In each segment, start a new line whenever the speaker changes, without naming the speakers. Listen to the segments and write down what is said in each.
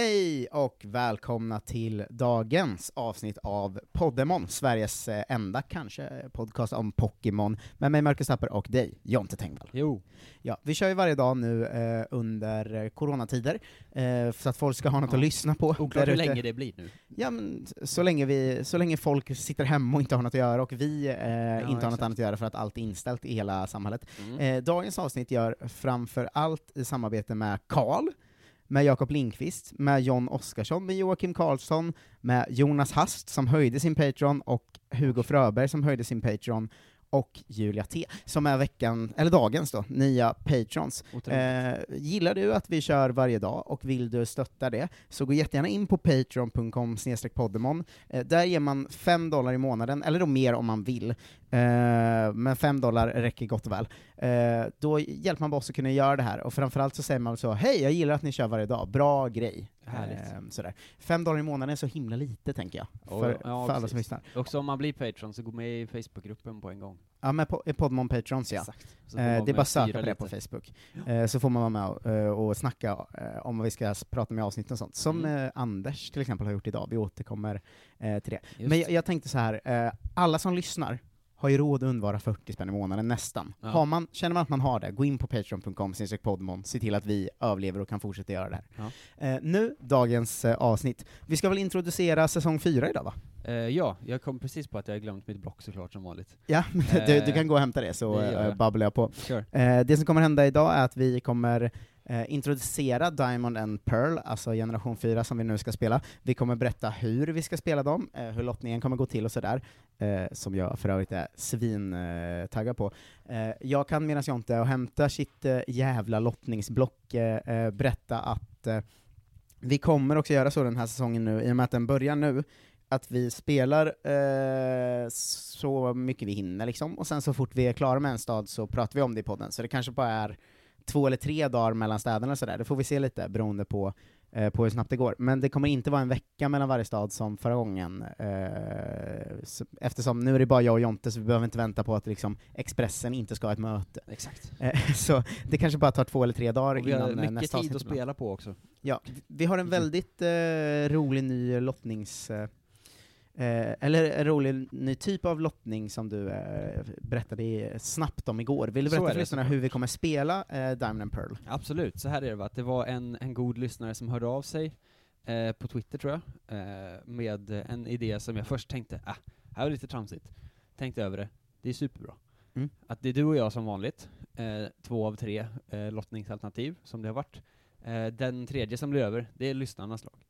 Hej och välkomna till dagens avsnitt av Poddemon, Sveriges eh, enda kanske podcast om Pokémon, med mig Marcus Tapper och dig, Jonte Tengvall.
Jo.
Ja, vi kör ju varje dag nu eh, under eh, coronatider, eh, så att folk ska ha något
Ja.
att lyssna på.
Oklart
där
hur
ute.
länge det blir nu.
Ja, men så länge, vi, så länge folk sitter hemma och inte har något att göra, och vi eh, inte har något
exakt.
annat att göra för att allt är inställt i hela samhället.
Mm.
Eh, dagens avsnitt gör framför allt i samarbete med Karl, med Jakob Linkvist, med John Oskarsson, med Joakim Karlsson, med Jonas Hast som höjde sin Patreon, och Hugo Fröberg som höjde sin Patreon, och Julia T, som är veckan, eller dagens då, nya Patrons.
Otroligt.
Eh, gillar du att vi kör varje dag och vill du stötta det, så gå jättegärna in på patreon.com poddemon. Eh, där ger man 5 dollar i månaden, eller då mer om man vill. Eh, men 5 dollar räcker gott och väl. Eh, då hjälper man oss att kunna göra det här, och framförallt så säger man så hej, jag gillar att ni kör varje dag, bra grej.
Härligt.
Eh, sådär. 5 dollar i månaden är så himla lite, tänker jag,
Oj,
för,
ja,
för alla
precis.
som lyssnar.
Också om man blir Patreon så gå med i Facebookgruppen på en gång.
Ja, men po- eh, Podmon Patrons ja.
Exakt. Så får
Eh,
man
det är
väl
bara att söka
styra
på det på
lite.
Facebook, eh, så får man vara med och, eh, och snacka eh, om vad vi ska s- prata om i avsnitt och sånt. Som
Mm.
eh, Anders till exempel har gjort idag, vi återkommer eh, till det.
Just.
Men jag, jag tänkte så här, eh, alla som lyssnar har ju råd att undvara 40 spänn i månaden, nästan.
Ja.
Har man, känner man att man har det, gå in på patreon.com, podmon, se till att vi överlever och kan fortsätta göra det här.
Ja.
Eh, nu, dagens eh, avsnitt. Vi ska väl introducera säsong 4 idag va?
Eh, ja, jag kom precis på att jag har glömt mitt block såklart som vanligt.
Ja, du, du
Eh,
kan gå och hämta det så
det gör
eh,
jag.
babblar jag på.
Kör.
Eh, det som kommer hända idag är att vi kommer eh, introducera Diamond and Pearl, alltså generation 4 som vi nu ska spela. Vi kommer berätta hur vi ska spela dem, eh, hur lottningen kommer gå till och sådär, eh, som jag för övrigt är svintaggad eh, taggad på. Eh, jag kan medan jag inte är och hämtar sitt eh, jävla lottningsblock eh, eh, berätta att eh, vi kommer också göra så den här säsongen nu, i och med att den börjar nu, att vi spelar eh, så mycket vi hinner liksom, och sen så fort vi är klara med en stad så pratar vi om det i podden, så det kanske bara är två eller tre dagar mellan städerna och sådär, det får vi se lite beroende på, eh, på hur snabbt det går. Men det kommer inte vara en vecka mellan varje stad som förra gången, eh, så, eftersom nu är det bara jag och Jonte, så vi behöver inte vänta på att liksom, Expressen inte ska ha ett möte.
Exakt.
Eh, så det kanske bara tar två eller tre dagar
Och vi har
innan eh,
mycket
nästa
tid
avsnitt.
att
ibland.
spela på också.
Ja, vi- vi har en
Precis.
väldigt eh, rolig ny lottnings... Eh, eh, eller en rolig ny typ av lottning som du eh, berättade snabbt om igår. Vill du
Så är
berätta för
det,
lyssnarna hur vi kommer spela eh, Diamond and Pearl?
Absolut, så här är det va, att det var en, en god lyssnare som hörde av sig eh, på Twitter tror jag, eh, med en idé som jag först tänkte, ah, här var lite tramsigt. Tänkte över det, det är superbra.
Mm.
Att det är du och jag som vanligt, eh, två av tre eh, lottningsalternativ som det har varit. Eh, den tredje som blir över, det är lyssnarnas lag.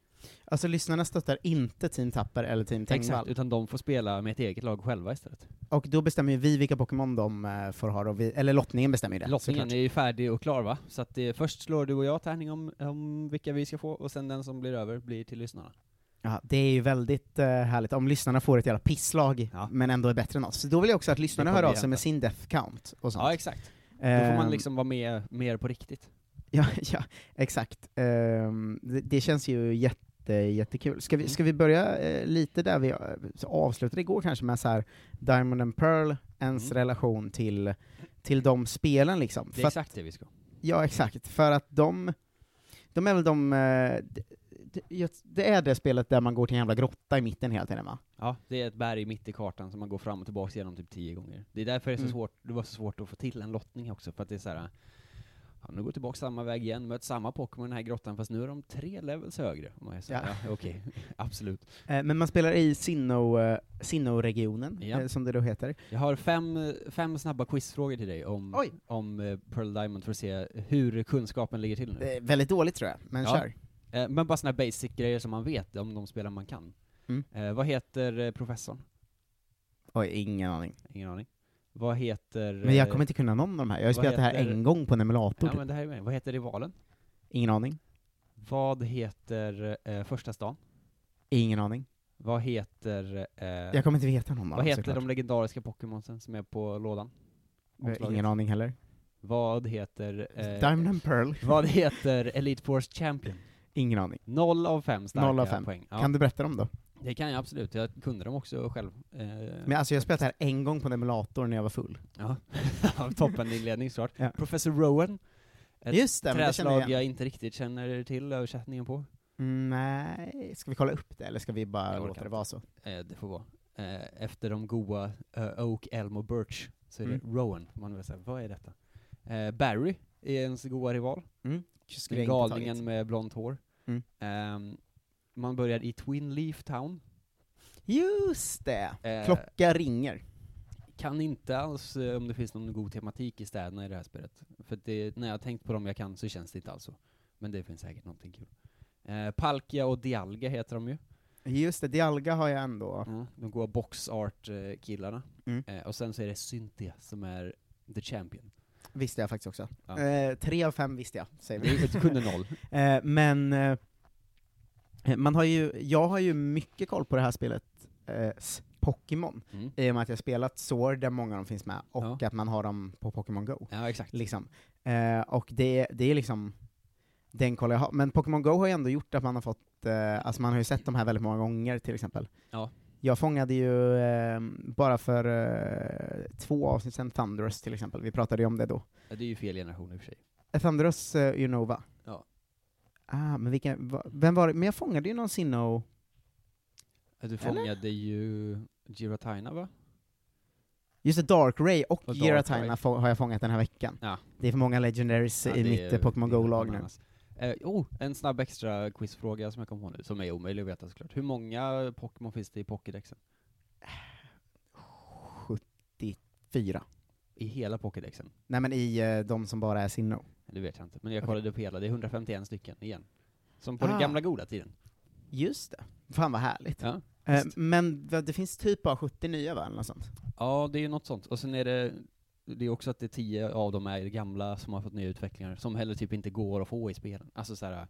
Alltså lyssnarna stöttar inte Team Tapper eller Team Tengvall,
utan de får spela med ett eget lag själva istället.
och då bestämmer ju vi vilka Pokémon de eh, får ha, och vi, eller lottningen bestämmer ju det.
Lottningen
såklart.
är ju färdig och klar va? Så att det, först slår du och jag tärning om, om vilka vi ska få, och sen den som blir över blir till lyssnarna.
Ja, det är ju väldigt eh, härligt om lyssnarna får ett jävla pisslag,
Ja.
men ändå är bättre än oss. Så då vill jag också att lyssnarna
kommer
hör av
ju
sig
hända.
med sin death count och sånt.
Ja exakt. Då får man
Ehm,
liksom vara med mer på riktigt.
Ja, ja exakt. Ehm, det, det känns ju jätte, jättekul. Ska vi,
Mm.
ska vi börja eh, lite där vi eh, så avslutade igår kanske med så här Diamond and Pearl, ens
Mm.
relation till, till de spelen liksom?
Det är
För att-
exakt det vi ska.
Ja, exakt. För att de, de är väl de... eh, d- d- jag- Det är det spelet där man går till en jävla grotta i mitten hela tiden va?
Ja, det är ett berg mitt i kartan som man går fram och tillbaka genom typ tio gånger. Det är därför det, är så
Mm.
svårt, det var så svårt att få till en lottning också, för att det är så här. Ja, nu går jag tillbaka samma väg igen, möter samma Pokémon i den här grottan, fast nu är de tre levels högre. Och man är så här,
Ja.
ja. okej, absolut.
Eh, Men man spelar i Sinnoh, eh, Sinnoh-regionen,
Ja.
eh, som det då heter.
Jag har fem, eh, fem snabba quizfrågor till dig om,
Oj!
om eh, Pearl Diamond för att se hur kunskapen ligger till nu.
Eh, Väldigt dåligt tror jag, men
Mm. Ja.
kör.
Eh, Men bara såna här basic-grejer som man vet om de spelar man kan.
Mm.
Eh, Vad heter eh, professorn?
Oj, ingen aning.
Ingen aning. Vad heter...
Men jag
eh,
kommer inte kunna någon av de här, jag har ju
vad
spelat det här
heter-
en gång på en emulator
Ja
typ.
men det här är med. Vad heter rivalen?
Ingen aning.
Vad heter eh, första stan?
Ingen aning.
Vad heter, eh,
Jag kommer inte veta någon av
vad
dem
heter
såklart.
de legendariska Pokémonsen som är på lådan?
Eh,
omslaget?
Ingen aning heller.
Vad heter, eh,
Diamond and Pearl.
vad heter Elite Force Champion?
Ingen aning.
Noll av fem starka
Noll av fem.
poäng. Ja,
Kan du berätta dem då?
Det kan jag absolut, jag kunde dem också själv. Eh,
Men alltså jag har spelat det här en gång på en emulator när jag var full.
ja. Toppen inledning såklart.
Ja.
Professor Rowan, Ett
Just det, men det känner jag
träslag
igen. Mm,
jag inte riktigt känner till översättningen på.
Nej, ska vi kolla upp det, eller ska vi bara
Jag orkar
låta det
inte.
vara så?
Eh, det får vara. Eh, efter de goa eh, Oak, Elm och Birch så är
Mm.
det Rowan. Man vill säga, vad är detta? Eh, Barry är ens goa rival.
Skulle
Den
jag inte
galningen
tagit.
med blont hår.
Mm.
Ehm, man börjar i Twin Leaf Town.
Just det!
Eh,
Klocka ringer.
kan inte alls eh, om det finns någon god tematik i städerna i det här spelet. För att det, när jag har tänkt på dem jag kan så känns det inte alls så. Men det finns säkert någonting kul. Eh, Palkia och Dialga heter de ju.
Just det, Dialga har jag ändå.
Ja, de goa box art-killarna.
Mm.
Eh, och sen så är det Cynthia som är the champion.
Visste jag faktiskt också.
Ja.
Eh, tre av fem visste jag, säger vi.
Du kunde noll.
Eh, men eh, man har ju, jag har ju mycket koll på det här spelet, eh, s- Pokémon,
Mm.
i och med att jag spelat Sword där många av dem finns med, och att man har dem på Pokémon Go.
Ja, exakt.
Liksom. Eh, och det, det är liksom den koll jag har. Men Pokémon Go har ju ändå gjort att man har fått, eh, alltså man har ju sett de här väldigt många gånger till exempel.
Ja.
Jag fångade ju, eh, bara för eh, två avsnitt sedan, Thunderous till exempel, vi pratade ju om det då.
Ja, Det är ju fel generation i och för sig.
Eh, Thunderous eh, Unova.
Ja.
Ah, men vilken, va, vem var det? Men jag fångade ju någon Sinnoh.
Eh, Du
Eller?
fångade ju Giratina va?
Just det, Dark Ray och,
Och Darkrai.
Giratina få, har jag fångat den här veckan.
Ja.
Det är för många legendaries
Ja,
i
det
mitt
är-
eh, Pokémon
det är
Go-lag nu.
bananas. Eh, oh, en snabb extra quizfråga som jag kom på nu, som är omöjlig att veta såklart. Hur många Pokémon finns det i Pokédexen?
Fyra.
I hela Pokédexen?
Nej men i eh, de som bara är Sinnoh.
Det vet jag inte, men jag
Okej.
kollade upp hela, det är 151 stycken igen. Som på
Ah.
den gamla goda tiden.
Just det. Fan vad härligt.
Ja.
Eh,
visst.
men vad- det finns typ bara 70 nya va, eller något sånt?
ja, det är ju något sånt. Och sen är det, det är också att det är 10 av dem är gamla som har fått nya utvecklingar, som heller typ inte går att få i spelen. Alltså såhär,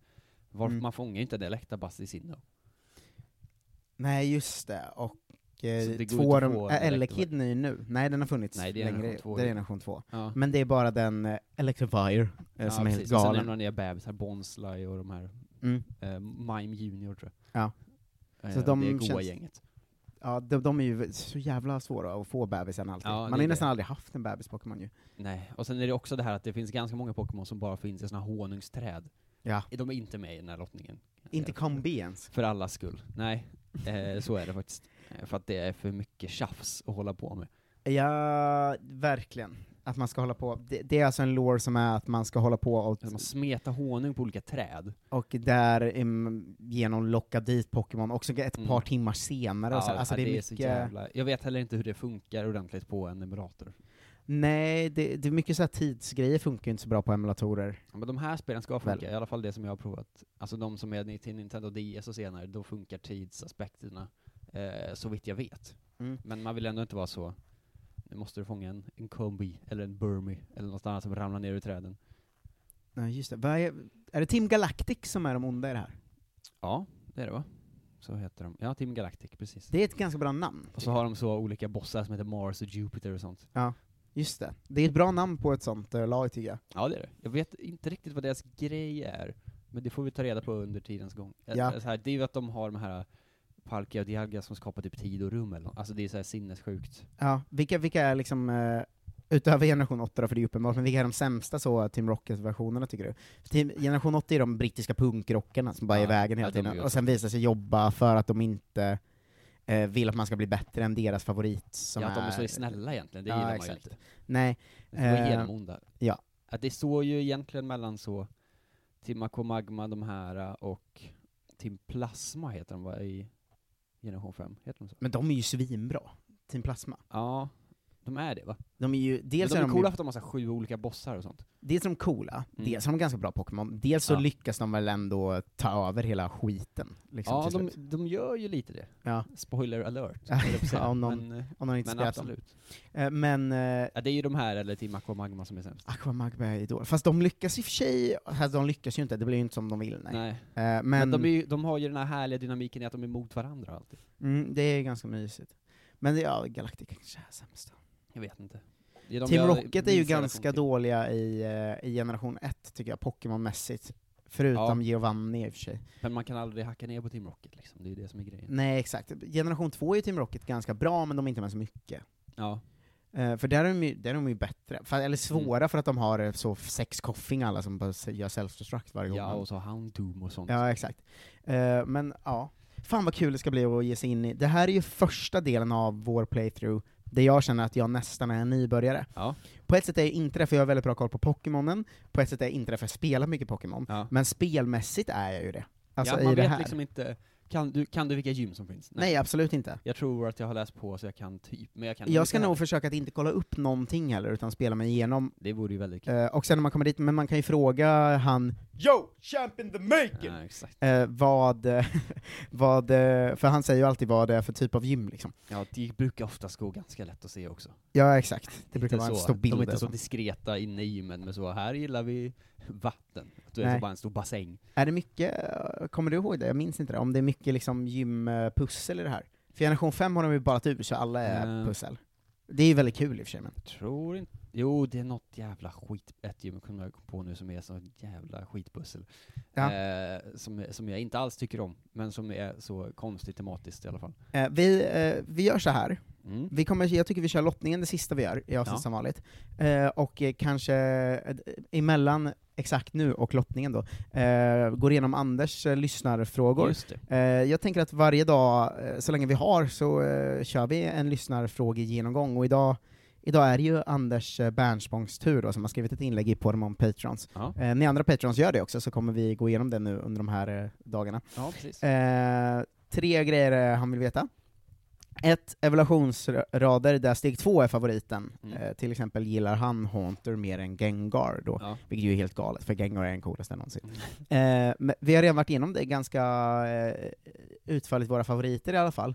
varför
Mm.
man fångar ju inte en Electabuzz i Sinnoh.
Nej, just det. Och
Så
eh,
det går
två
inte
av
att
dem,
få
är
direkt,
Elekid ny nu? Nej, den har funnits
Nej, det är
längre.
generation två
det är
ju.
generation två.
Ja.
Men det är bara den eh, Electrifier eh, som är helt
Och sen är det
galen.
några nya bebisar, Bonsly och de här
Mm.
eh, Mime Junior tror jag.
Ja.
Eh,
Så de
det är goa
känns-
gänget.
Ja, de, de är ju så jävla svåra att få bebisen alltid.
Ja, det
Man
är
har ju
det.
nästan aldrig haft en bebis-Pokémon ju.
Nej, och sen är det också det här att det finns ganska många Pokémon som bara finns i såna här honungsträd.
Ja.
De är inte med i den här lottningen.
Inte
Eh,
kombi ens.
För allas skull. Nej, eh, så är det faktiskt. Eh, För att det är för mycket tjafs att hålla på med.
Ja, verkligen. Att man ska hålla på. Det, det är alltså en lore som är att man ska hålla på och,
Alltså man smetar honung på olika träd.
och där um, genom locka dit Pokémon, också ett
Mm.
par timmar senare. och så.
Ja,
Alltså
ja,
det är
så
mycket...
jävla... Jag vet heller inte hur det funkar ordentligt på en emulator.
Nej, det, det är mycket så här tidsgrejer funkar ju inte så bra på emulatorer.
Ja, Men de här spelen ska
Väl.
funka, i alla fall det som jag har provat. Alltså de som är ni- till Nintendo DS och senare, då funkar tidsaspekterna, eh, så vitt jag vet.
Mm.
Men man vill ändå inte vara så, nu måste du fånga en, en kombi, eller en burmy, eller något annat som ramlar ner ur träden.
Nej, just det. Vad är, är det Team Galactic som är de onda i det här?
Ja, det är det va? Så heter de. Ja, Team Galactic, precis.
Det är ett ganska bra namn.
Och så har de så olika bossar som heter Mars och Jupiter och sånt.
Just det. Det är ett bra namn på ett sånt eh, lag tycker jag.
Ja, det är det. Jag vet inte riktigt vad deras grej är, men det får vi ta reda på under tidens gång. Ä-
Ja.
Så här, det är ju att de har de här äh, Palkia och Dialga som skapar typ tid och rum eller nå- Alltså det är så här sinnessjukt.
Ja, vilka, vilka är liksom, eh, utöver generation 8 då, för det är ju uppenbart, men vilka är de sämsta så Team Rocket-versionerna tycker du? För Team, generation 8 är de brittiska punkrockarna som bara är i
Ja,
vägen hela
ja, de är
tiden,
ju-
och sen visar sig jobba för att de inte eh, vill att man ska bli bättre än deras favorit som
ja, att de
är...
är så snälla egentligen, det
Ja,
gillar man ju
exakt.
inte.
Nej,
De är
Eh,
genomonda.
ja.
Att det står ju egentligen mellan så Timaco Magma, de här, äh, och Tim Plasma heter de va, i generation 5? Heter de så?
men de är ju svinbra. Team Plasma.
Ja, de är det va?
De är ju,
Men
dels
de är
är de ju
coola för att de har så här sju olika bossar och sånt.
dels är de coola,
Mm.
dels har de ganska bra Pokémon, dels så
Ja.
lyckas de väl ändå ta över hela skiten. Liksom,
Ja,
till
de,
slut.
de gör ju lite det.
Ja.
Spoiler alert.
Ja,
höll jag på att säga.
om någon-
men eh,
Om de inte
men
spelat dem.
absolut.
Eh, Men eh,
Ja, det är ju de här, eller Team Aqua Magma som är sämst.
Aquamagma är idol. Fast de lyckas i och för sig, alltså, de lyckas ju inte, det blir ju inte som de vill. Nej.
Nej.
Eh, men
Men, de, är ju, de har ju den här härliga dynamiken i att de är mot varandra alltid.
mm, det är ganska mysigt. Men det- ja, Galactic kanske är sämst.
Jag vet inte. Det är de
Team
jag
Rocket är ju
minns relation
ganska
till.
dåliga i, eh, i generation 1, tycker jag, Pokémon-mässigt. Förutom Giovanni i och för sig.
Men man kan aldrig hacka ner på Team Rocket liksom, det är ju
Mm.
det som är grejen.
Nej, exakt. Generation 2 är ju Team Rocket ganska bra, men de är inte med så mycket.
Ja.
Eh, Eh, för där är de ju, där är de ju bättre, Fa- eller svåra
Mm.
för att de har eh, så sex koffing alla som bara se- gör self-destruct varje gång.
Ja,
man-
och så Houndoom och sånt.
ja exakt. Eh, men ja, fan vad kul det ska bli att ge sig in i. Det här är ju första delen av vår playthrough, där jag känner att jag nästan är en nybörjare.
Ja.
På ett sätt är jag inte det, för jag har väldigt bra koll på Pokémonen, på ett sätt är jag inte det, för jag spelar mycket Pokémon.
Ja.
Men spelmässigt är jag ju det. Alltså
ja,
i
man
det
vet
här.
liksom inte, kan du, kan du vilka gym som finns?
Nej. absolut inte.
Jag tror att jag har läst på så jag kan typ, men jag kan
Jag
inte
ska nog
heller.
försöka att inte kolla upp någonting heller, utan spela mig igenom.
Det vore ju väldigt kul.
Eh, och sen när man kommer dit, men man kan ju fråga han Yo, champ in the making!
Ja, exakt.
Eh, vad, vad, eh, för han säger ju alltid vad det är för typ av gym liksom.
Ja, det brukar oftast gå ganska lätt att se också.
Ja, exakt. Det brukar
Inte
vara en
så-
stor bild.
De är inte så
alltså.
diskreta inne i gymmen, men så här gillar vi vatten. Du är
Nej.
så bara en stor bassäng.
Är det mycket, eh, kommer du ihåg det? Jag minns inte det. Om det är mycket liksom gympussel i det här? För generation 5 har de ju ballat ur, så alla är
Eh.
pussel. Det är ju väldigt kul i och för sig, men.
Tror inte... Jo, det är något jävla skit... Ett gym kommer jag på nu som är så jävla skitpussel.
Ja.
Eh, som, som jag inte alls tycker om, men som är så konstigt tematiskt i alla fall.
Eh, vi, eh, vi gör så här.
Mm.
Vi kommer, jag tycker vi kör lottningen, det sista vi gör, i avsnitt
Ja.
som vanligt. Eh, och eh, kanske eh, emellan, exakt nu, och lottningen då, eh, går igenom Anders eh, lyssnarfrågor.
Just det.
Eh, jag tänker att varje dag, eh, så länge vi har, så eh, kör vi en lyssnarfrågegenomgång, och idag Idag är det ju Anders eh, Bernspångs tur då, som har skrivit ett inlägg i Podem om Patrons.
Ja.
Eh, ni andra Patrons gör det också, så kommer vi gå igenom det nu under de här eh, dagarna.
Ja, precis.
Eh, tre grejer eh, han vill veta. Ett, evolutionsrader där steg två är favoriten.
Mm.
Eh, till exempel gillar han Haunter mer än Gengar då,
Ja.
vilket ju är helt galet, för Gengar är den coolaste någonsin.
Mm.
Eh, men vi har redan varit igenom det ganska eh, utförligt, våra favoriter i alla fall.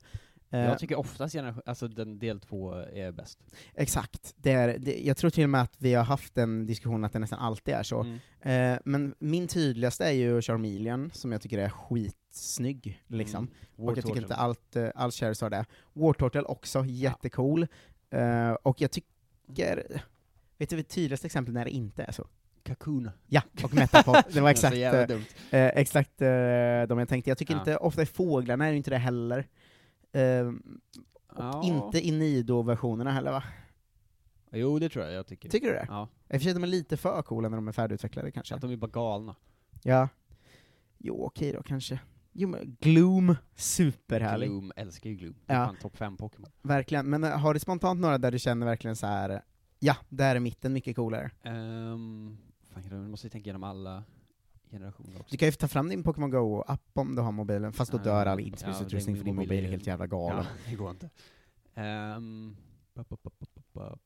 Eh,
Jag tycker oftast generation, alltså den del två är bäst.
Exakt. Det är, det, jag tror till och med att vi har haft den diskussionen att det nästan alltid är så.
Mm.
Eh, men min tydligaste är ju Charmeleon, som jag tycker är skitsnygg, liksom.
Mm.
och jag tycker
Wartortle.
inte allt, eh, all Charizard är. Wartortle också, jättecool. Eh, och jag tycker... Vet du det tydligaste exemplet när det inte är så?
Kakuna.
Ja, och Metapod. det var
är så
exakt,
jävla
eh,
dumt.
eh, exakt eh, de jag tänkte. Jag tycker
Ja.
inte, ofta i fåglarna är det inte det heller. Eh,
Ja.
Inte i Nido-versionerna heller va?
Jo, det tror jag jag tycker.
Tycker du det?
ja.
I och för sig, de är lite för coola när de är färdigutvecklade kanske.
Att de är bara galna.
Ja. Jo, okej då kanske. Jo men, Gloom, superhärlig.
Gloom, älskar ju Gloom. Det är
Ja.
fan topp 5 Pokémon.
Verkligen, men eh, har du spontant några där du känner verkligen så här. ja, där är mitten mycket coolare?
Um, fan, jag måste ju tänka igenom alla generationer också.
Du kan ju ta fram din Pokémon Go-app om du har mobilen, fast då
Ja,
dör all
ja,
inspelningsutrustning
det-
för din
det blir-
mobil är helt jävla galen.
ja, det går inte. Ehm, ba, ba, ba, ba, ba, ba.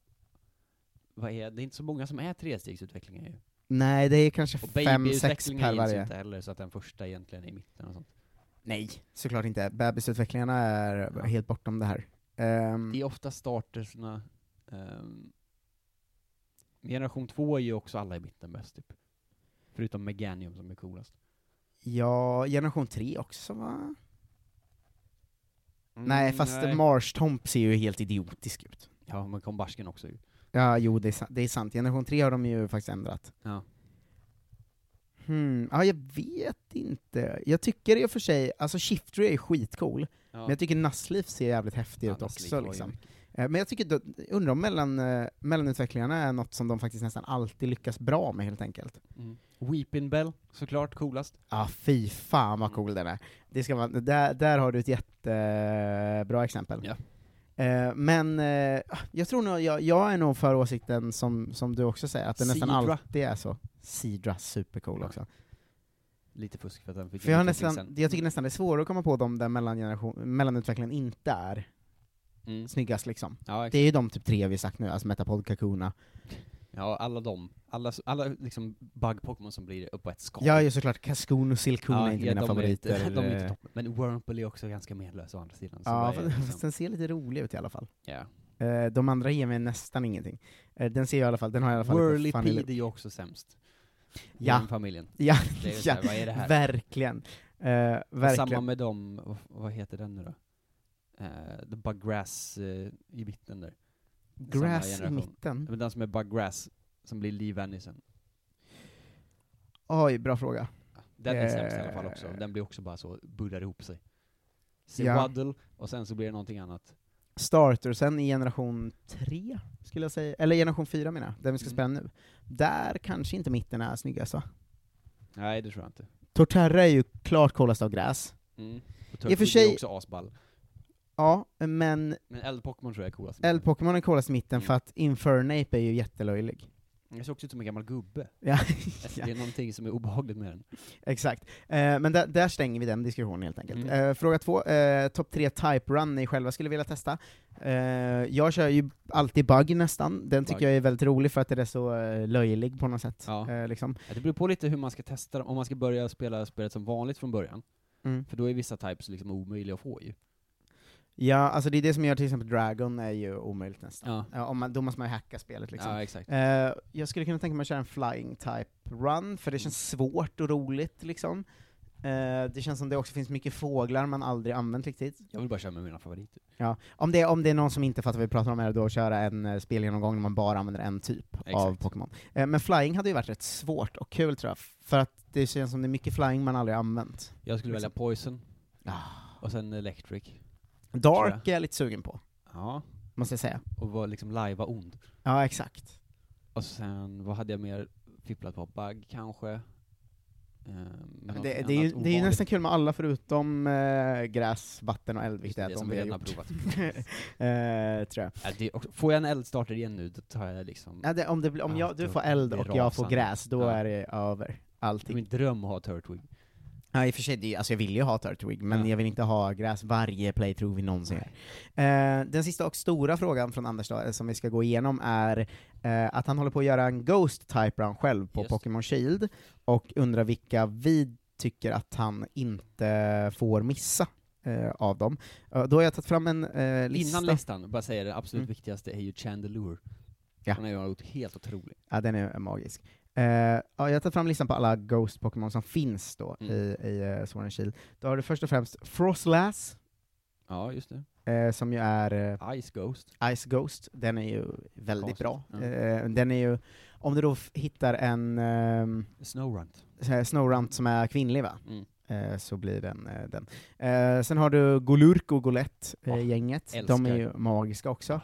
Vad är, det är inte så många som är trestegsutvecklingar ju.
Nej, det är kanske
Och
fem, sex
babyutvecklingar
per
gills ju
varje. Mm.
inte heller, så att den första egentligen är i mitten och sånt.
Nej, såklart inte. Bebisutvecklingarna är
Ja.
helt bortom det här. Ehm,
Det är ofta starterserna. ehm, generation två är ju också alla i mitten bäst typ. Förutom Meganium som är coolast.
ja, generation 3 också va? nej, fast
Mm, nej.
Marsh Tomp ser ju helt idiotisk ut.
Ja, men kom barsken också ju.
Ja, jo det är, sa- det är sant. Generation 3 har de ju faktiskt ändrat.
Ja.
Hmm, ja, jag vet inte. Jag tycker i och för sig, alltså Shiftry är skitcool,
Ja.
men jag tycker Nassleaf ser jävligt häftig ut
Ja,
också.
Sleep var ju
Liksom.
mycket.
Eh, Men jag tycker, då, undrar om mellan, eh, mellanutvecklingarna är något som de faktiskt nästan alltid lyckas bra med helt enkelt.
Mm. Weeping Bell, såklart coolast.
ah, fy fan
Mm.
vad cool den är. Det ska man, där, där har du ett jättebra exempel.
Ja.
Eh, Men eh, jag tror nog, jag, jag är nog för åsikten som, som du också säger, att det nästan
Sidra.
alltid är så. Sidra, supercool
Ja.
också.
Lite fusk för att den fick
För jag, har
en utveckling
nästan, jag tycker nästan det är svårare att komma på de där mellangeneration- mellanutvecklingen inte är
Mm.
snyggast liksom.
Ja,
Det
exakt.
är ju de typ tre vi sagt nu, alltså Metapod, Kakuna.
ja, alla de. Alla, s- alla liksom bug-Pokémon som blir upp på ett skal.
Jag är ju såklart Kaskun och Silkuna är inte
ja,
mina
de är inte-
favoriter. eh.
de är inte toppen. Men Wurmple är också ganska menlös å andra sidan. Så
ja,
vad är det
fast-
liksom?
fast den ser lite rolig ut i alla fall.
Ja.
Eh, De andra ger mig nästan ingenting. Eh, Den ser jag i alla fall, den har jag i alla fall
Whirly
funny
Pede
look.
är ju också sämst. I
Ja.
den familjen.
Ja,
Det är ju
ja
såhär, vad är det här?
verkligen. Eh,
Och Samma
verkligen.
med dem, vad- vad heter den nu då? Eh, the Buggrass eh, i mitten där.
Mm. Grass i
generation.
mitten.
Men den som är Buggrass, som blir Lee Vanison.
Oj, bra fråga.
Den är sämst i alla fall
Eh.
också, den blir också bara så, bullar ihop sig. Så
Ja.
Waddle, och sen så blir det någonting annat.
startersen i generation 3, skulle jag säga, eller generation 4 menar jag, den vi ska
Mm.
spela nu. Där kanske inte mitten är snyggast va?
Nej, det tror jag inte.
Torterra är ju klart coolast av gräs.
Mm. Och
I och för
Turtwig är
sig-
också asball.
Ja, men
Men Eld-Pokémon tror jag är coolast.
Eld-Pokémon är coolast i mitten
Mm.
för att Infernape är ju jättelöjlig.
Jag ser också ut som en gammal gubbe.
Ja,
Alltså,
ja
Det är någonting som är obehagligt med den.
exakt. Eh, men där, där stänger vi den diskussionen helt enkelt.
Mm.
Eh, fråga två, eh, topp tre type run ni själva skulle vilja testa. Eh, jag kör ju alltid bug nästan, den tycker
Bug.
jag är väldigt rolig för att den är så eh, löjlig på något sätt.
Ja.
Eh, liksom.
Ja, Det beror på lite hur man ska testa dem, om man ska börja spela spelet som vanligt från början.
Mm.
För då är vissa types liksom omöjliga att få ju.
Ja, alltså det är det som gör till exempel Dragon är ju omöjligt nästan.
Ja,
Ja, om man, då måste man ju hacka spelet liksom.
ja exakt.
Eh, jag skulle kunna tänka mig att köra en flying type run,
Mm.
för det känns svårt och roligt liksom. Eh, det känns som det också finns mycket fåglar man aldrig använt riktigt.
Jag vill bara köra med mina favoriter.
Om det, om det är någon som inte fattar vad vi pratar om är det då att köra en eh, spelgenomgång när man bara använder en typ av
Exakt.
Pokémon. Eh, men flying hade ju varit rätt svårt och kul tror jag, för att det känns som det är mycket flying man aldrig använt.
Jag skulle välja
Liksom.
Poison, och sen Electric. Ah, Tror
Dark är jag lite sugen på,
Ja,
måste jag säga.
och var liksom lajva ond.
Ja, exakt.
Och sen, vad hade jag mer fipplat på? Bug kanske? Ehm, men
Det,
något
det, är ju,
annat
det är ju
ovanligt.
nästan kul med alla förutom eh, gräs, vatten och eld,
Just
vilket är
det
de
som
vi
vi
har
redan har
gjort.
provat.
Eh, tror jag.
Ja, det är också, får jag en eldstarter igen nu, då tar jag liksom...
Ja, det, om det, blir- om
Ja,
jag, du
då
får eld
blir det
och jag får
rasande.
gräs, då
Ja.
är det över.
det är
Allting.
min dröm att ha Turtwig.
Ja, i och för sig, det, är- alltså jag vill ju ha Turtwig, men
Ja.
jag vill inte ha gräs varje playthrough vi någonsin gör. Eh, den sista och stora frågan från Anders då, eh, som vi ska gå igenom är eh, att han håller på att göra en Ghost Type Run själv på
Just.
Pokémon Shield, och undrar vilka vi tycker att han inte får missa eh, av dem. Eh, då har jag tagit fram en eh, lista.
Innan listan, bara säga det absolut
Mm.
viktigaste är ju Chandelure.
Ja.
Han har ju varit helt otrolig.
Ja, den är magisk. Eh, ja, jag tar fram listan på alla Ghost-Pokémon som finns då
Mm.
i, i uh, Sword and Shield. Då har du först och främst Frostlass,
Ja, just det.
eh, som ju är eh,
Ice Ghost.
Ice Ghost, den är ju väldigt
Ghost,
bra.
ja.
Eh, den är ju, om du då f- hittar en um,
Snowrunt.
Snowrunt som är kvinnlig va?
Mm.
Eh, så blir den eh, den. Eh, sen har du Golurk och
Åh,
Golett-gänget, de är
älskar.
ju magiska också.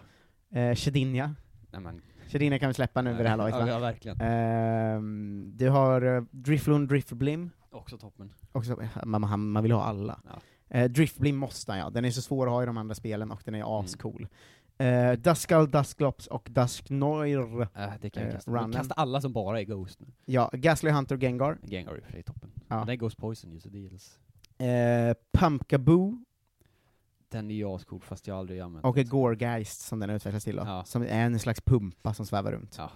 Eh, Shedinja,
Nej, men,
Shedinja kan vi släppa nu vid det här laget va? Eh.
ja, ja, verkligen.
Ehm, du har eh, Drifloon, Driftblim,
Också toppen.
också, eh, man, man, man vill ha alla.
Ja.
Eh, Driftblim måste han ja, den är så svår att ha i de andra spelen och den
Mm.
är ascool. Eh, Duskull, Dusklops och Dusknoir.
Äh, det kan
Eh,
jag kasta.
runnen.
Jag kasta alla som bara är Ghost nu.
Ja, Gasly Hunter och Gengar.
Gengar är i och för sig toppen.
Ja.
Men den är Ghost Poison ju, så det gills.
Eh, Pumpkaboo
Den är ju ascool, fast jag aldrig använt
och
den.
Goregeist som den utvecklas till då,
Ja.
som är en slags pumpa som svävar runt.
Ja.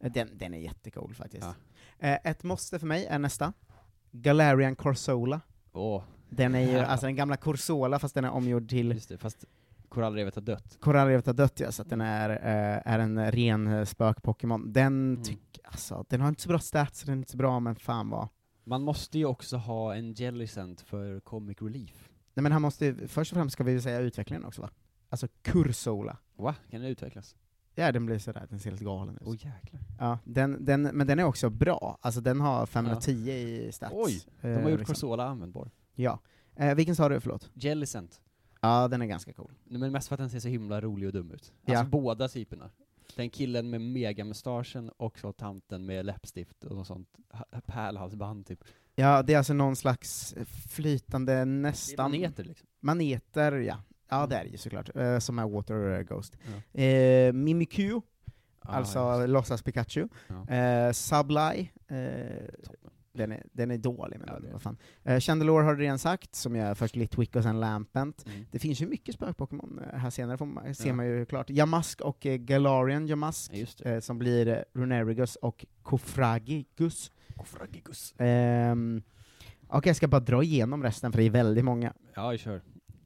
Eh, Den, den är jättecool faktiskt. Eh, ett måste för mig är nästa. Galarian Corsola.
Åh,
Den är ju,
Ja.
alltså den gamla Corsola fast den är omgjord till
just det. Fast korallrevet har dött.
Korallrevet har dött ja, så alltså, att den är, eh, är en ren eh, spök-Pokémon. Den,
Mm.
tycker alltså, den har inte så bra stats, den är inte så bra, men fan vad...
Man måste ju också ha en Jellicent för Comic Relief.
Nej men han måste ju, först och främst ska vi ju säga utvecklingen också va? Alltså Kursola.
Va? Kan den utvecklas?
Ja den blir sådär, den ser helt galen ut.
Åh jäklar.
Ja, den, den, men den är också bra, alltså den har 510 i stats.
Oj, De
Eh,
har
liksom.
gjort Corsola användbar.
Ja. Eh, vilken sa du, förlåt?
Jellicent.
Ja, den är ganska cool.
Nej, Men mest för att den ser så himla rolig och dum ut.
Ja.
Alltså båda typerna. Den killen med megamustaschen och så tanten med läppstift och något sånt ha- pärlhalsband typ.
Ja, det är alltså någon slags flytande,
Det är
nästan...
Maneter liksom.
Maneter, ja. Ja,
Mm.
det är det ju såklart. Eh, som är Water Ghost.
Ja. Ah,
Eh, Mimikyu,
Ja,
alltså
just
låtsas Pikachu.
Ja.
Eh, Sublime, eh,
det. Toppen.
den, är, den är dålig men
Ja, det är
vad fan. Eh, Chandelure har du redan sagt, som jag först Litwick och sen Lampent.
Mm.
Det finns ju mycket spök-Pokémon eh, här senare, får man, ser
Ja.
man ju klart. Yamask och eh, Galarian Yamask,
Ja, just det.
eh, som blir eh, Runerigus och Kofragigus.
Kofragigus.
Ehm, Okej, jag ska bara dra igenom resten för det är väldigt många.
Ja, kör.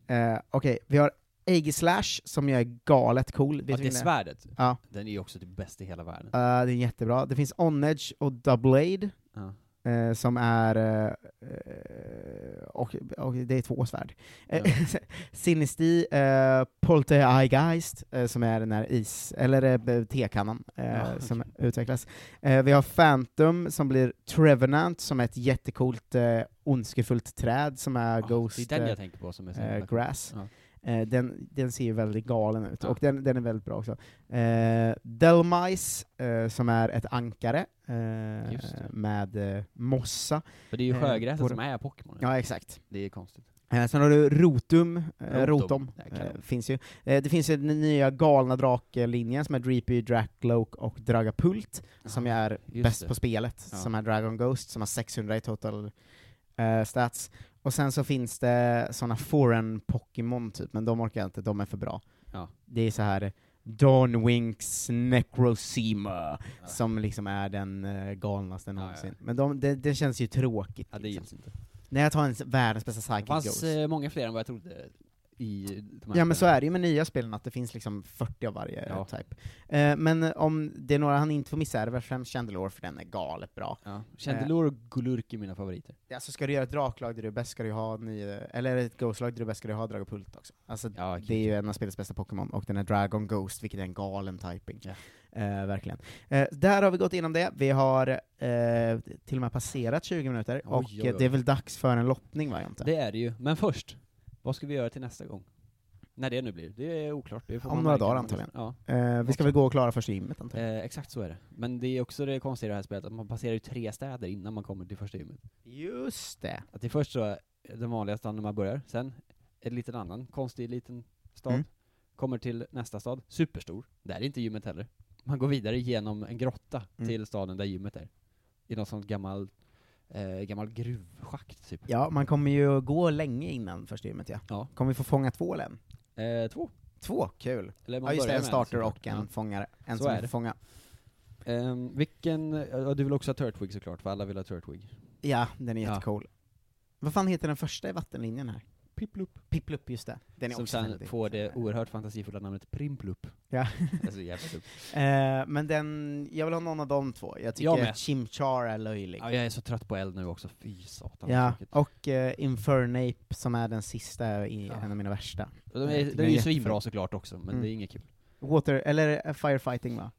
Eh, Okej, vi har Aegislash som ju är galet cool. Vet du
Ja, det
vilken det är?
svärdet,
Ja.
den är ju också det bästa i hela världen.
Eh, det är jättebra. Det finns Onedge och Doublade,
Ja.
eh, som är... eh, eh, och, och det är två svärd. Eh, Sinisty, eh, Poltergeist, eh, som är den här is... eller eh, tekannan, eh,
Ja,
som utvecklas. Eh, vi har Phantom som blir Trevenant, som är ett jättecoolt eh, ondskefullt träd som är
Ah,
Ghost...
det är den
eh,
jag tänker på som är så
eh,
himla cool.
Grass.
Ja.
Eh, den, den ser ju väldigt galen ut,
Ja.
och den, den är väldigt bra också. Eh, Delmice, eh, som är ett ankare eh,
Just det.
med eh, mossa.
För det är ju
Eh,
sjögräset
på-
som är Pokémon.
Ja, exakt.
Det är konstigt.
Eh, sen har du Rotum, eh,
Rotom.
Rotom,
Det är kanon.
eh, finns ju. Eh, det finns ju den nya galna draklinjen som är Dreepy, Dracloak och Dragapult, som ju är
Just
bäst
det.
på spelet,
Ja.
som är Dragon Ghost, som har 600 i total eh, stats. Och sen så finns det såna foreign Pokémon typ, men de orkar jag inte, de är för bra.
Ja.
Det är så här Dawnwinks Necrosema,
Ja.
som liksom är den eh, galnaste
ja.
någonsin. Men de, det, det känns ju tråkigt.
Ja, det
liksom.
gills inte.
När jag tar en s- världens bästa
Det
Psychic
fanns
Ghost.
eh, många fler än vad jag trodde i de här
Ja men så är det ju med nya spelen, att det finns liksom 40 av varje
Ja.
typ. Eh, men om det är några han inte får missa är det väl främst Chandelure, för den är galet bra.
Ja. Chandelure och Gulurk är mina favoriter.
Alltså ska du göra ett draklag där du är bäst ska du ha nio, eller ett Ghost-lag där du är bäst ska du ha Dragapult också. Alltså
Ja,
det är ju en av spelets bästa Pokémon, och den är Dragon Ghost, vilket är en galen typing.
Ja.
Eh, verkligen. Eh, där har vi gått igenom det, vi har eh, till och med passerat 20 minuter,
Oj,
och
oj,
eh,
oj.
det är väl dags för en lottning va, Jonte?
Det är det ju. Men först, vad ska vi göra till nästa gång? När det nu blir. Det är oklart. Det får
Om
man
några
märka
dagar
när man
antagligen.
lyssnar.
Eh, vi ska väl gå och klara första gymmet
Ja,
antar jag?
eh, exakt så är det. Men det är också det konstiga i det här spelet, att man passerar ju tre städer innan man kommer till första gymmet.
Just det!
Att det är först så, är den vanliga staden när man börjar, sen en liten annan konstig liten stad,
Mm.
kommer till nästa stad, superstor, där är inte gymmet heller. Man går vidare genom en grotta
Mm.
till staden där gymmet är. I någon sån gammal, eh, gammal gruvschakt typ.
Ja, man kommer ju gå länge innan första gymmet ja.
Ja.
Kommer vi få fånga två län?
Eh, två.
Två, kul!
Eller man
Ja just det,
börjar
en
med
starter
såklart.
och en
Ja.
fångare. En
Så
som
är
är
det.
fånga.
Ehm, vilken, ja du vill också ha Turtwig såklart, för alla vill ha Turtwig.
Ja, den är
Ja.
jättecool. Vad fan heter den första i vattenlinjen här?
Pipplup.
Pipplupp, just det. Den är
Som
också
sen
väldigt-
får det oerhört fantasifulla namnet Primplup.
Ja.
alltså jävligt dumt.
Eh, men den, jag vill ha någon av de två. Jag tycker
Jag med.
att Chimchar är löjlig.
Ja, jag är så trött på eld nu också, fy satan.
Ja,
tråkigt.
och eh, Infernape som är den sista, i,
Ja.
en av mina värsta.
Och de är,
tycker
de
den
är
är
ju
jättefin.
svinbra såklart också, men
Mm.
det är inget kul.
Water, eller eh, Firefighting va?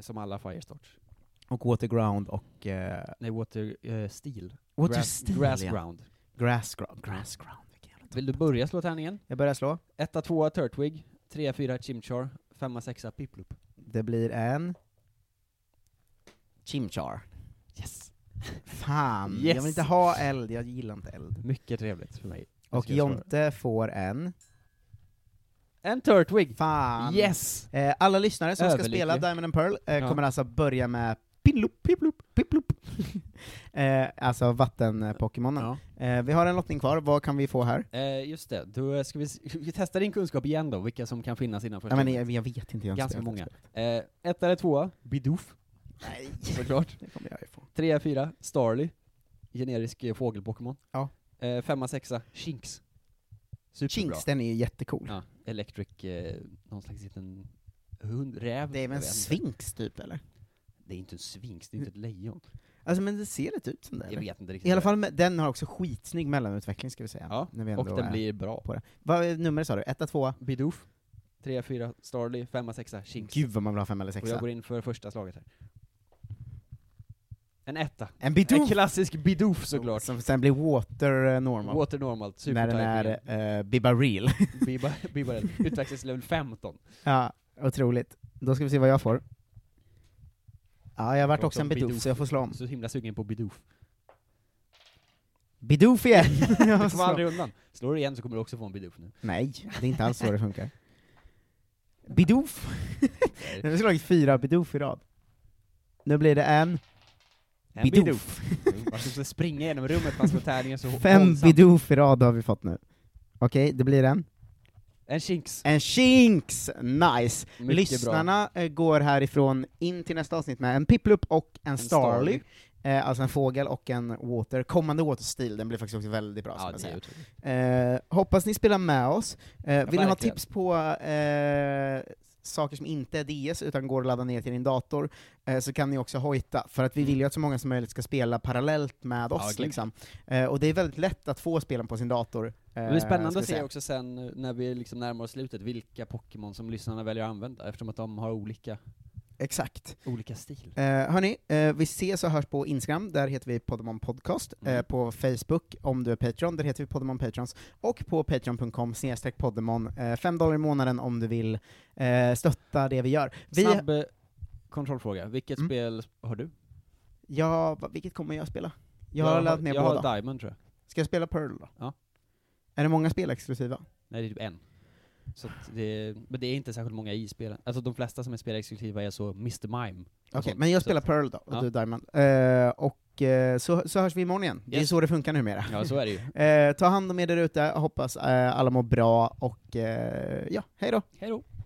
Som alla Firestarts.
Och Waterground och... Eh,
Nej, Water eh, Steel.
water
grass,
Steel,
grass
ja.
Ground.
Grassground. Grassground, vilken jävla
Vill du börja slå tärningen?
Jag börjar slå.
Etta, tvåa Turtwig, trea, fyra Chimchar, femma, sexa Pipplup.
Det blir en... Chimchar.
Yes!
Fan, jag
Yes.
vill inte ha eld, jag gillar inte eld.
Mycket trevligt för mig. Jag
Och
ska svara.
Jonte får en.
En Turtwig!
Fan!
Yes!
Eh, alla lyssnare som ska
Överlycklig.
spela Diamond and Pearl eh,
Ja.
kommer alltså börja med Piplup, Piplup, Piplup. eh, alltså vatten-Pokémonen.
Ja.
Eh, vi har en lottning kvar, vad kan vi få här?
Eh, just det, då eh, ska vi, s- vi testar din kunskap igen då, vilka som kan finnas innanför
Nej, men e-
spelet.
jag, jag vet inte. Jag har inte
Ganska
spelat
många.
det spelet.
Eh, ett eller tvåa, Bidoof,
Nej,
såklart.
det kommer jag ifrån.
Trea, fyra, Starly, generisk eh, fågelpokémon.
Ja.
Eh, femma, sexa, Shinx. Superbra.
Chinks, den är ju jättecool.
Ja, Electric, eh, någon slags liten hund, räv.
Det är väl
jag
en
vet inte.
sfinx typ, eller?
Det är inte en svinx, det är inte ett lejon.
Alltså men det ser lite ut som det,
Jag
eller?
vet inte riktigt.
I alla
vad
fall, med, den har också skitsnygg mellanutveckling ska vi säga.
Ja,
När vi
det är.
ändå
Och den
är-
blir bra.
Vad är numret sa du? Etta, tvåa?
Bidoof, trea, fyra, Starly, femma, sexa, Shinx.
Gud vad man vill ha fem eller
Och jag
sexa.
går in för första slaget här. En etta.
En
En
Bidoof!
klassisk Bidoof såklart.
Som sen blir Water eh, Normal.
Water normal,
när den
supertajmingen.
är uh, Bibaril.
Biba, Biba utvecklas level 15.
ja, otroligt. Då ska vi se vad jag får. Ja, jag vart
Också
också en
Bidoof.
Bidoof, så jag får slå om.
Så himla sugen på Bidoof.
Bidoof igen! Jag
Du
får
kommer
slå.
aldrig undan. Slår du igen så kommer du också få en Bidoof nu.
Nej, det är inte alls så det funkar. Bidoof!
Nej.
Nu har vi slagit fyra Bidoof i rad. Nu blir det en
En
Bidoof.
Man ska springa genom rummet fast på tärningen så
Fem
våldsamt.
Bidoof i rad har vi fått nu. Okej, det blir en.
En Shinx.
En Shinx! Nice!
Mycket bra.
Eh, Lyssnarna eh, går härifrån in till nästa avsnitt med en Piplup och en,
En
Starly, Eh, alltså en fågel och en Water, kommande Water-stil, den blir faktiskt också väldigt bra
Ja,
ska man
det är
säga.
otroligt.
Eh, hoppas ni spelar med oss. Eh, vill ni ha
verkligen.
tips på eh, saker som inte är DS, utan går att ladda ner till din dator, eh, så kan ni också hojta, för att vi
Mm.
vill ju att så många som möjligt ska spela parallellt med oss.
gud.
liksom. eh, och det är väldigt lätt att få spelen på sin dator. Eh,
Men det är spännande
ska vi
att se
säga.
också sen eh, när vi liksom närmar oss slutet vilka Pokémon som lyssnarna väljer att använda eftersom att de har olika
Exakt.
Olika stil.
Eh, hörni, eh, vi ses och hörs på Instagram, där heter vi Podemon Podcast.
Mm.
Eh, på Facebook, om du är Patreon, där heter vi Podemon Patrons. Och på patreon.com snedstreck Podemon. Eh, fem dollar i månaden om du vill eh, stötta det vi gör. Vi,
Snabb eh, kontrollfråga. Vilket
Mm.
spel har du?
ja, va- vilket kommer jag spela? Jag har laddat ner
jag
båda.
har Diamond tror jag.
Ska jag spela Pearl då?
Ja.
Är det många spel exklusiva?
Nej, det är typ en. Så att det, men det är inte särskilt många i spelen. Alltså de flesta som är spelexklusiva är så Mr. Mime.
Okej,
sånt.
men jag
Så
spelar Pearl då, och
Ja.
du Diamond. Eh, och eh, så, så hörs vi imorgon igen. Det är
Yes.
så det funkar numera.
Ja, så är det ju.
Eh, ta hand om er där ute, hoppas eh, alla mår bra, och eh, ja, hej då!
Hej då.